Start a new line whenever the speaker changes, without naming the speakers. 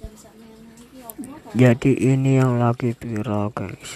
Jam sak meneh iki opo kok?
Jadi ini yang lagi viral guys